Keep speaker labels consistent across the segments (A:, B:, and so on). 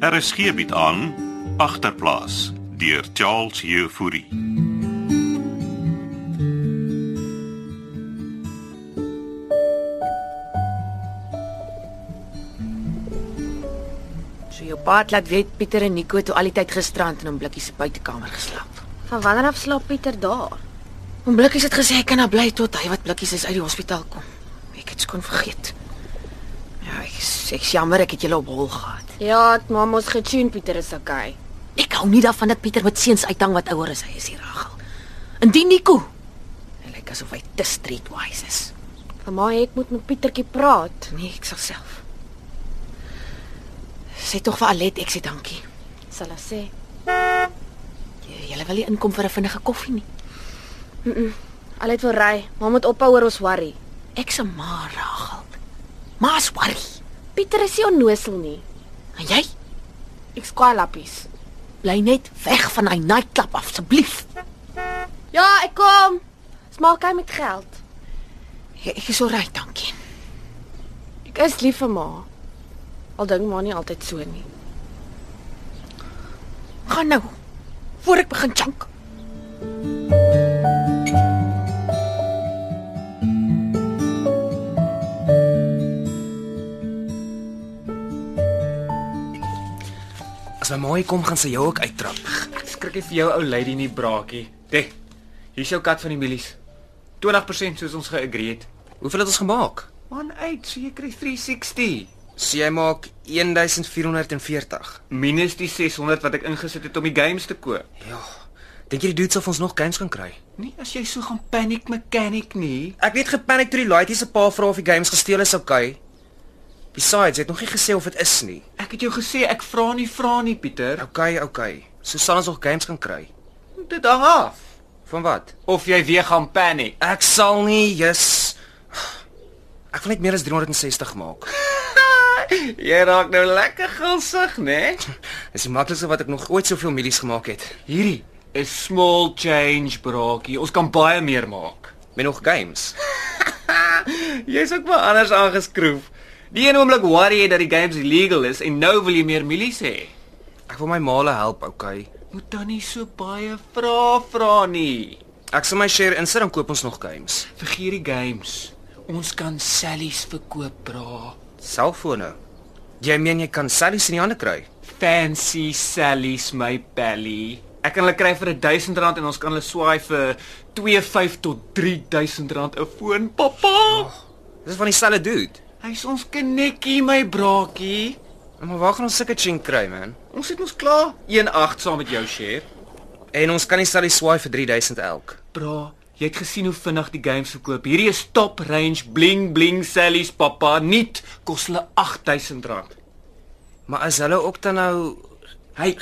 A: RSG bied Er aan agterplaas deur Charles Jefouri.
B: So jou pa het laat weet Pieter en Nico toe al die tyd gisterand in hom blikkie se buitekamer geslaap.
C: Van wanneer af slaap Pieter daar?
B: Hom blikkies het gesê hy kan daar bly tot hy wat blikkies is uit die hospitaal kom. Ek het skoon vergeet. Ja, ek is- ek is jammer ek het julle op hol gehad.
C: Ja, het ma mos getune Pieter is okay.
B: Ek hou nie daarvan dat Pieter met seuns uithang wat ouer as hy is hier Ragel. Indien Nico. Hy lyk asof hy te streetwise is.
C: Van ma ek moet met Pietertjie praat.
B: Nee, ek sal self. Sê tog vir Alet ek sê dankie.
C: Sal hy sê.
B: J- Julle wil nie inkom vir 'n vinnige koffie nie.
C: Al het wil ry, maar moet ophou oor ons worry.
B: Ek se ma Ragel. Ma's worry.
C: Pieter is nie onnosel nie.
B: En jy
C: Ek skaai lappies.
B: bly net weg van hy nightclub af asseblief.
C: Ja, ek kom. Smaak hy met geld.
B: Ek ek is alright, dankie.
C: Ek is lief vir ma. Al dink ma nie altyd so nie.
B: Gaan nou. Voor ek begin jank.
D: As my maai kom gaan sy jou ook uittrap.
E: Ek skrik nie vir jou ou lady nie, braakie. Dê. Hier's jou kat van die mielies. 20% soos ons geagree het.
D: Hoeveel het ons gemaak?
E: Man uit, so jy kry 360
D: So jy maak 1440.
E: minus die 600 wat ek ingesit het om die games te koop.
D: Ja. Dink jy die dudes of ons nog games kan kry?
E: Nie Nee, as jy so gaan panic mechanic nie.
D: Ek weet gepaniek toe die laities 'n paar vrae of die games gesteel is, okay. Besides, jy het nog nie gesê of dit is nie.
E: Ek het jou gesê ek vra nie vra nie, Pieter.
D: Okay, okay. So sal ons nog games kan kry.
E: Dit hang af
D: Van wat?
E: of jy weer gaan panic.
D: Ek sal nie, jis. Ek wil net meer as 360 maak.
E: Ah, Jy raak nou lekker gulsig, né?
D: Dis die maklikste wat ek nog ooit soveel milies gemaak het.
E: Hierdie is small change, braakie. Ons kan baie meer maak.
D: Met nog games.
E: Jy's ook maar anders aangeskroef. Die een oomblik worry jy dat die games illegal is en nou wil jy meer milies hê.
D: Ek wil my maale help, okay.
E: Moet dan nie so baie vra vra nie.
D: Ek sal my share insit en koop ons nog games.
E: Vergeet die games. Ons kan sellies verkoop, bra.
D: Selfone. Jy meen jy kan sellies in die hande kry?
E: Fancy sellies my belly. Ek kan hulle kry vir R1000 en ons kan hulle swaai vir 25 tot R3000 'n foon, pappa.
D: Dis van dieselfde dude.
E: Hy's ons kinetjie, my braakie.
D: Maar waar gaan ons sulke ching kry, man?
E: Ons het ons klaar 1.8 saam met jou share.
D: En ons kan nie sellies swaai vir 3000 elk.
E: Bra, jy het gesien hoe vinnig die games verkoop. Hierdie is top range bling bling sellies pappa, niet kos hulle R8000.
D: Maar as hulle ook dan nou
E: Hey,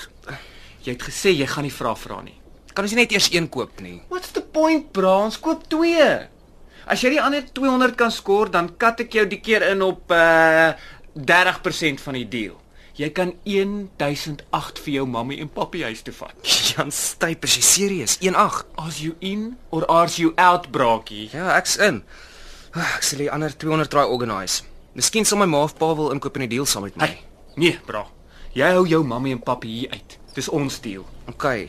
E: jy het gesê jy gaan nie vra vra nie.
D: kan ons nie net eers een koop nie.
E: What's the point, bra? Ons koop 2. As jy die ander 200 kan skoor, dan kat ek jou die keer in op uh 30% van die deal. Jy kan 1008 vir jou mammy en pappie huis toe vat.
D: Jan styp, is jy serieus? 18.
E: As you in or are you out, braakie?
D: Ja, ek's in. Ah, Ek sal die ander 200 try organise. Miskien sal my ma of pa wil inkoop in die deal saam met my.
E: Hey, nee, bra. Jy hou jou mammy en pappie hier uit. Dis ons deel.
D: Okay.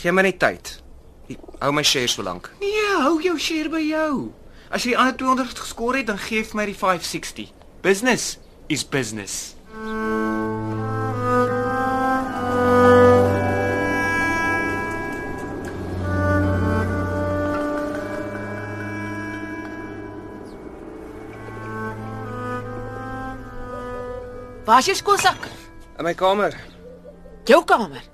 D: Gee my net tyd. Ek hou my shares so lank.
E: Nee, hou jou share by jou. As jy die ander 200 geskor het, dan gee vir my die 560. Business is business.
B: Waar is jou skoolsak?
D: In my kamer.
B: Jou kamer.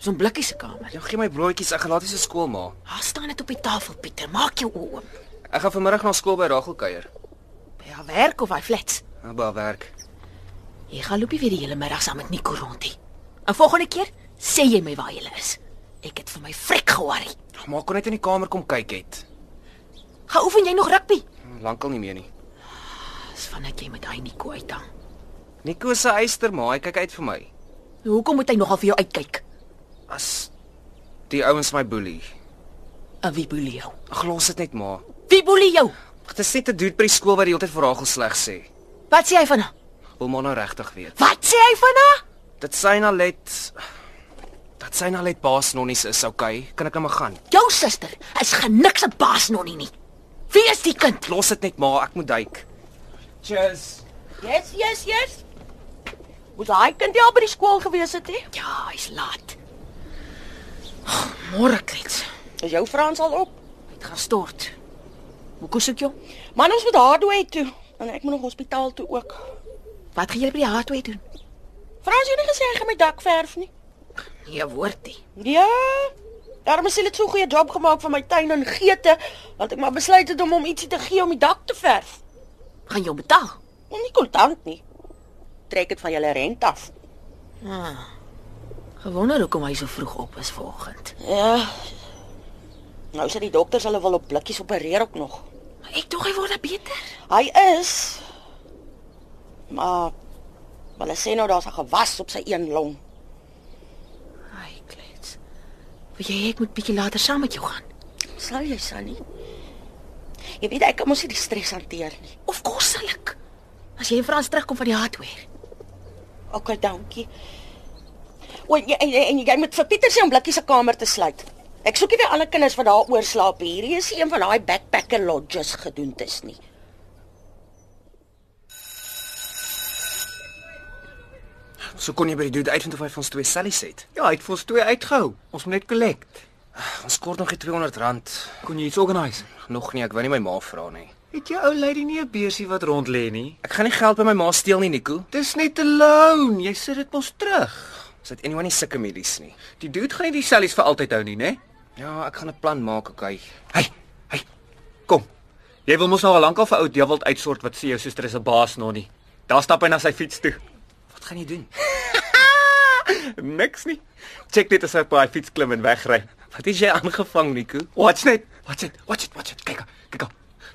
B: So'n blikkie se kamer.
D: Ja, gee my broodjies. Ek gaan laat hierdie skool maak.
B: Daar staan dit op die tafel, Pieter. Maak jou oë oop.
D: Ek gaan vanmiddag na skool by Rachel kuier.
B: By haar werk of hy flats.
D: Naby werk.
B: Jy gaan loopie weer die hele middag saam met Nico rondie. En volgende keer sê jy my waar jy is. Ek het vir my vrek geworry.
D: Maar kon net in die kamer kom kyk het.
B: Gaan oefen jy nog rugby?
D: Lankal nie meer nie.
B: Dis vandat jy met daai Nico uithang.
D: Nico se eyster maar, hy kyk uit vir my.
B: Hoekom moet hy nogal vir jou uitkyk?
D: As die ouens my boelie.
B: En wie boelie jou?
D: Ag los dit net maar.
B: Wie boelie jou?
D: Ag, Dit is net 'n dude by die skool wat die hele tyd vir Rachel sleg sê.
B: Wat sê hy van haar?
D: Wil maar nou regtig weet.
B: Wat sê hy van haar?
D: Dit sy na let dat sy na let baas nonnies is, okay? Kan ek nou maar gaan?
B: Jou suster is geniks 'n baas nonnie nie. Wie is die kind?
D: Los dit net maar, ek moet duik.
E: Cheers.
F: Yes, yes, yes. Moes daai kind nie al by die skool gewees het nie?
B: Ja, hy's laat. Oh, Môre klets.
F: Is jou Frans al op?
B: Dit gaan stort. Hoe kos ek jou?
F: Man, ons moet Hardway toe en ek moet nog hospitaal toe ook.
B: Wat gaan julle by die hardware doen?
F: Frans het nie gesê hy gaan my dak verf nie.
B: Nee, woordie.
F: Ja. Daarom het hulle so 'n goeie job gemaak van my tuin en geete dat ek maar besluit het om hom ietsie te gee om die dak te verf.
B: Gaan jou betaal.
F: En nie kontant nie. Trek dit van julle rent af.
B: Gewonder hoekom hy so vroeg op is vanoggend.
F: Ja. Nou sê die dokters hulle wil op blikkies opereer ook nog.
B: Maar ek dink hy word nou beter.
F: Hy is maar maar hulle sê nou daar's 'n gewas op sy een long.
B: Ai, klets. Wil jy ek moet bietjie later saam met jou gaan?
F: Sal jy, Sunny? Jy weet ek kan mos nie die stres hanteer nie.
B: Of kos sal ek? As jy in Frans terugkom van die hardware.
F: OK, dankie. O, en, en, en jy moet vir Pieter sê om blikkie se kamer te sluit. Ek soek nie weer ander kinders wat daar oorslaap. Hierdie is een van daai backpacker lodges gedoentes nie.
D: So kon jy by die dude uitvind of hy vir ons twee sellies het.
E: Ja, hy het vir ons twee uitgehou. Ons moet net collect.
D: Ons kort nog die 200 rand.
E: Kon jy iets organiseer?
D: Nog nie, ek wou nie my ma vra nie.
E: Het jou ou lady nie 'n beursie wat rond lê nie?
D: Ek gaan nie geld by my ma steel nie, Nico.
E: Dis net 'n loan. Jy sit dit mos terug.
D: Ons het anyone nie sulke mielies nie.
E: Die dude gaan nie die sellies vir altyd hou nie, né?
D: Ja, ek gaan 'n plan maak, okay.
E: Hey, hey. Kom. Jy wil mos nou al lank al vir ou Dewald uitsort wat sê jou suster is 'n baas nog nie. Daar stap hy na sy fiets toe.
D: Wat gaan jy doen?
E: Niks nie. Check net as hy op daai fiets klim en wegry.
D: Wat is jy aangevang, Nico?
E: Watch net. Watch it. Watch it. Watch it. Kyk. Kyk.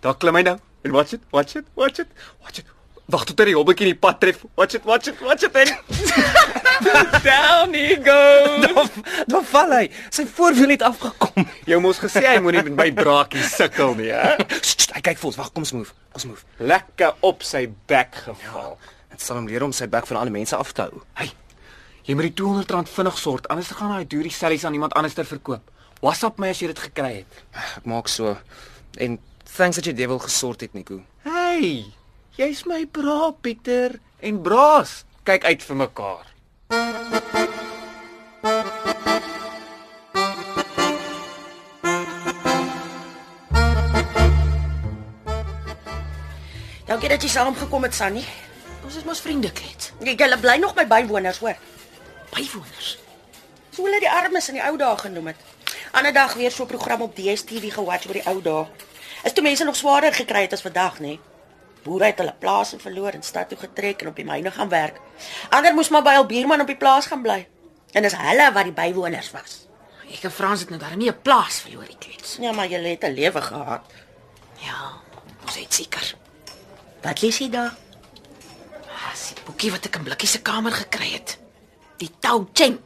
E: Daar klim hy nou. En watch it. Watch it. Watch it. Watch it. Wag tot hy die hobbeltjie in die pad tref. Watch it. Watch it. Watch it. En down he goes.
D: Dan, dan val hy. Sy voorwiel het afgekom.
E: Jy moes gesê hy moenie met my braakie sukkel nie, hè?
D: Eh, Sst, sst, hy kyk vir ons. Wag, kom ons move. Kom ons move.
E: Lekker op sy bek geval.
D: Dit sal hom leer om sy bek van ander mense af te hou.
E: Hey. Jy moet die R200 vinnig sort, anders gaan daai duurie sellies aan iemand anders ter verkoop. WhatsApp my as jy dit gekry het.
D: Eh, Ek maak so. En thanks dat jy dit wil gesort het, Nico.
E: Hey, jy's my bra Pieter en braas. Kyk uit vir mekaar.
F: Dankie dat jy saamgekom het, Sunny.
B: Ons is mos vriende klets.
F: Jy julle bly nog my bywoners, hoor.
B: Bywoners.
F: So hulle die armes in die ou dae genoem het. Ander dag weer so 'n program op DStv gewatch oor die ou dae. Is toe mense nog swaarder gekry het as vandag, nê? Boere het hulle plase verloor en stad toe getrek en op die myne gaan werk. Ander moes maar by hul buurman op die plaas gaan bly. En dis hulle wat die bywoners was.
B: Ek en Frans het nou darem nie 'n plaas verloor nie klets.
F: Ja, maar julle het 'n lewe gehad.
B: Ja, ons het seker.
F: Wat lees jy daar?
B: As die boekie wat ek in Blikkie se kamer gekry het. Die Tao Cheng.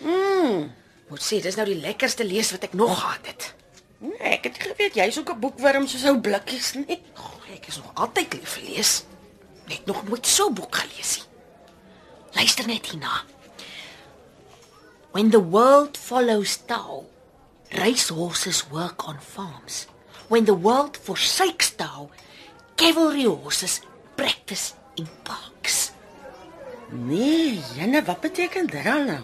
B: Mm. Moet sê, dis nou die lekkerste lees wat ek nog gehad het.
F: Nee, ek het nie geweet jy's ook 'n boekwurm soos ou blikkies nee. nie.
B: Oh, ek is nog altyd lief vir lees. Net nog nooit so 'n boek gelees nie. Luister net hierna. When the world follows Tao, race horses work on farms. When the world forsakes Tao, cavalry horses practice in parks.
F: Nee, jene, wat beteken dit dan nou?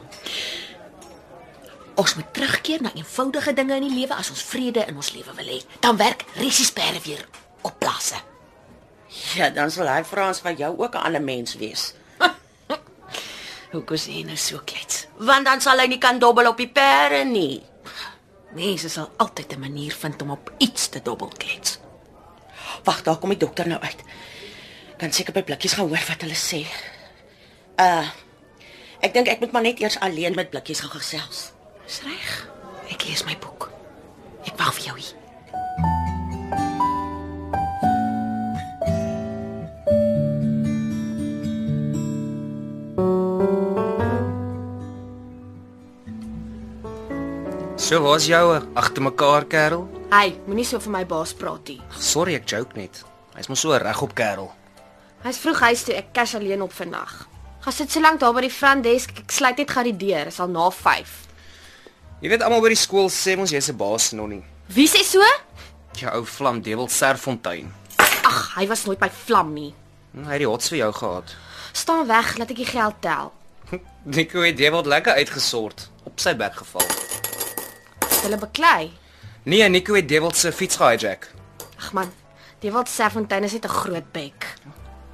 B: Ons moet terugkeer na eenvoudige dinge in die lewe as ons vrede in ons lewe wil hê. Dan werk resiespere weer op plase.
F: Ja, dan sal hy Frans van jou ook 'n ander mens wees.
B: Hoe kos jy nou so klets?
F: Want dan sal hy nie kan dobbel op die pere nie.
B: Mense sal altyd 'n manier vind om op iets te dobbelklets.
F: Wag, daar kom die dokter nou uit. Kan seker by blikkies gaan hoor wat hulle sê. Uh Ek dink ek moet maar net eers alleen met blikkies gaan gesels.
B: Dis reg. Ek lees my boek. Ek wag vir jou hier.
D: So, waar's jou eh, agter mekaar kerel?
C: Hey, moenie so vir my baas praat nie.
D: Sorry, ek joke net. Hy's mos so 'n regop kerel.
C: Hy's vroeg huis toe, ek cash alleen op vandag. Gaan sit so lank daar by die front desk. Ek sluit net gou die deur. Is al na 5.
D: Jy weet almal by die skool sê ons jy's 'n baas, Nonnie.
C: Wie sê so?
D: Jou Ja, ou vlam Dewel Serfontein.
C: Ag, hy was nooit by vlam nie.
D: Hm, Hy het die hots vir jou gehad.
C: Staan weg, laat ek die geld tel.
D: Hm, Nico het Dewel lekker uitgesort, op sy bek geval.
C: Het Hulle beklei.
D: Nee, Nico het Dewel se fiets gehijack.
C: Ag man, die wat Serfontein is net 'n groot bek.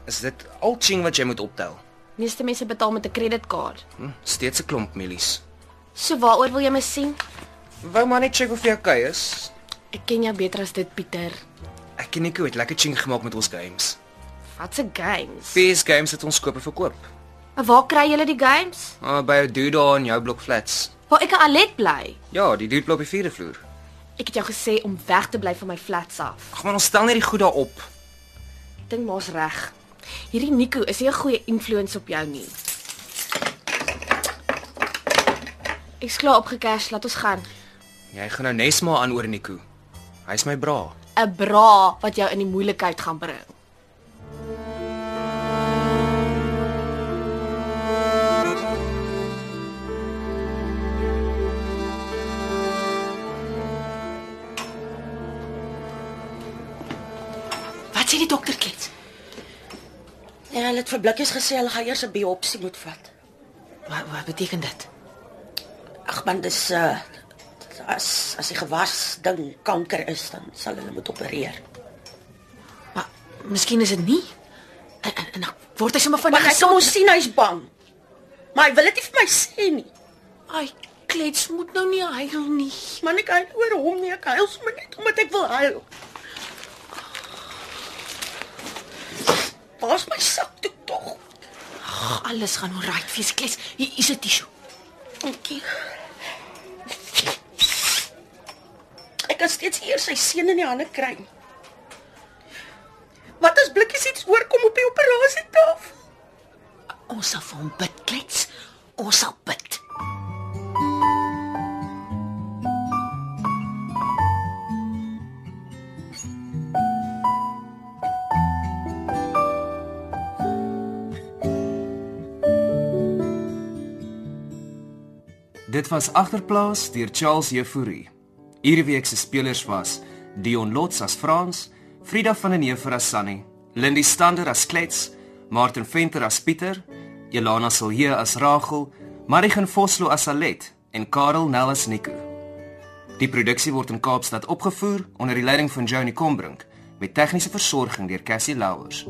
D: Is dit al ching wat jy moet optel?
C: Meeste mense betaal met 'n kredietkaart.
D: Hm, steeds 'n klomp mielies.
C: So waaroor wil jy my sien?
D: Wou maar net check of jy okay is.
C: Ek ken jou beter as dit, Pieter.
D: Ek en Nico het lekker ching gemaak met ons games.
C: Wat se games?
D: PS games het ons koop en verkoop.
C: En waar kry julle die games?
D: Ah, by jou dude daar in jou blok flats.
C: Waar ek 'n alet bly.
D: Ja, die dude bly op die vierde vloer.
C: Ek het jou gesê om weg te bly van my flats af.
D: Ag man, ons stel net die goed daar op.
C: Ek dink ma's reg. Hierdie Nico is nie 'n goeie influence op jou nie. Ek's klaar opgekers, laat ons gaan.
D: Jy gaan nou Nesma aan oor Nico. Hy's my bra.
C: 'n Bra wat jou in die moeilikheid gaan bring.
B: Wat sê die dokter klets?
F: Ja, hulle het vir blikkies gesê hulle gaan eers 'n biopsie moet vat.
B: Wat wat beteken dit?
F: Ag man, dis uh as as die gewas ding kanker is, dan sal hulle moet opereer.
B: Maar miskien is dit nie. En, en, en dan word hy sommer
F: Maar
B: vinnig
F: hy sê mos sien hy's bang. Maar hy wil dit nie vir my sê nie.
B: Ai, klets moet nou nie huil nie.
F: Man, ek huil oor hom nie, ek huil sommer net omdat ek wil huil. Pas my sakdoek tog.
B: Ag, alles gaan oukei wees, klets. Hier is 'n tissue.
F: Dankie. Ek kan steeds eers sy seun in die hande kry. Wat as blikkies iets oorkom op die operasietafel?
B: Ons sal vir hom bid, klets. Ons sal bid.
D: Dit was agterplaas deur Charles Jefouri. Hierdie week se spelers was Dion Lots as Frans, Frida van den Heever as Sunny, Lindy Stander as Klets, Martin Venter as Pieter, Elana Silje as Rachel, Marigan Vosloo as Alet en Karel Nel as Nico. Die produksie word in Kaapstad opgevoer onder die leiding van Johnny Combrink met tegniese versorging deur Cassie Louws.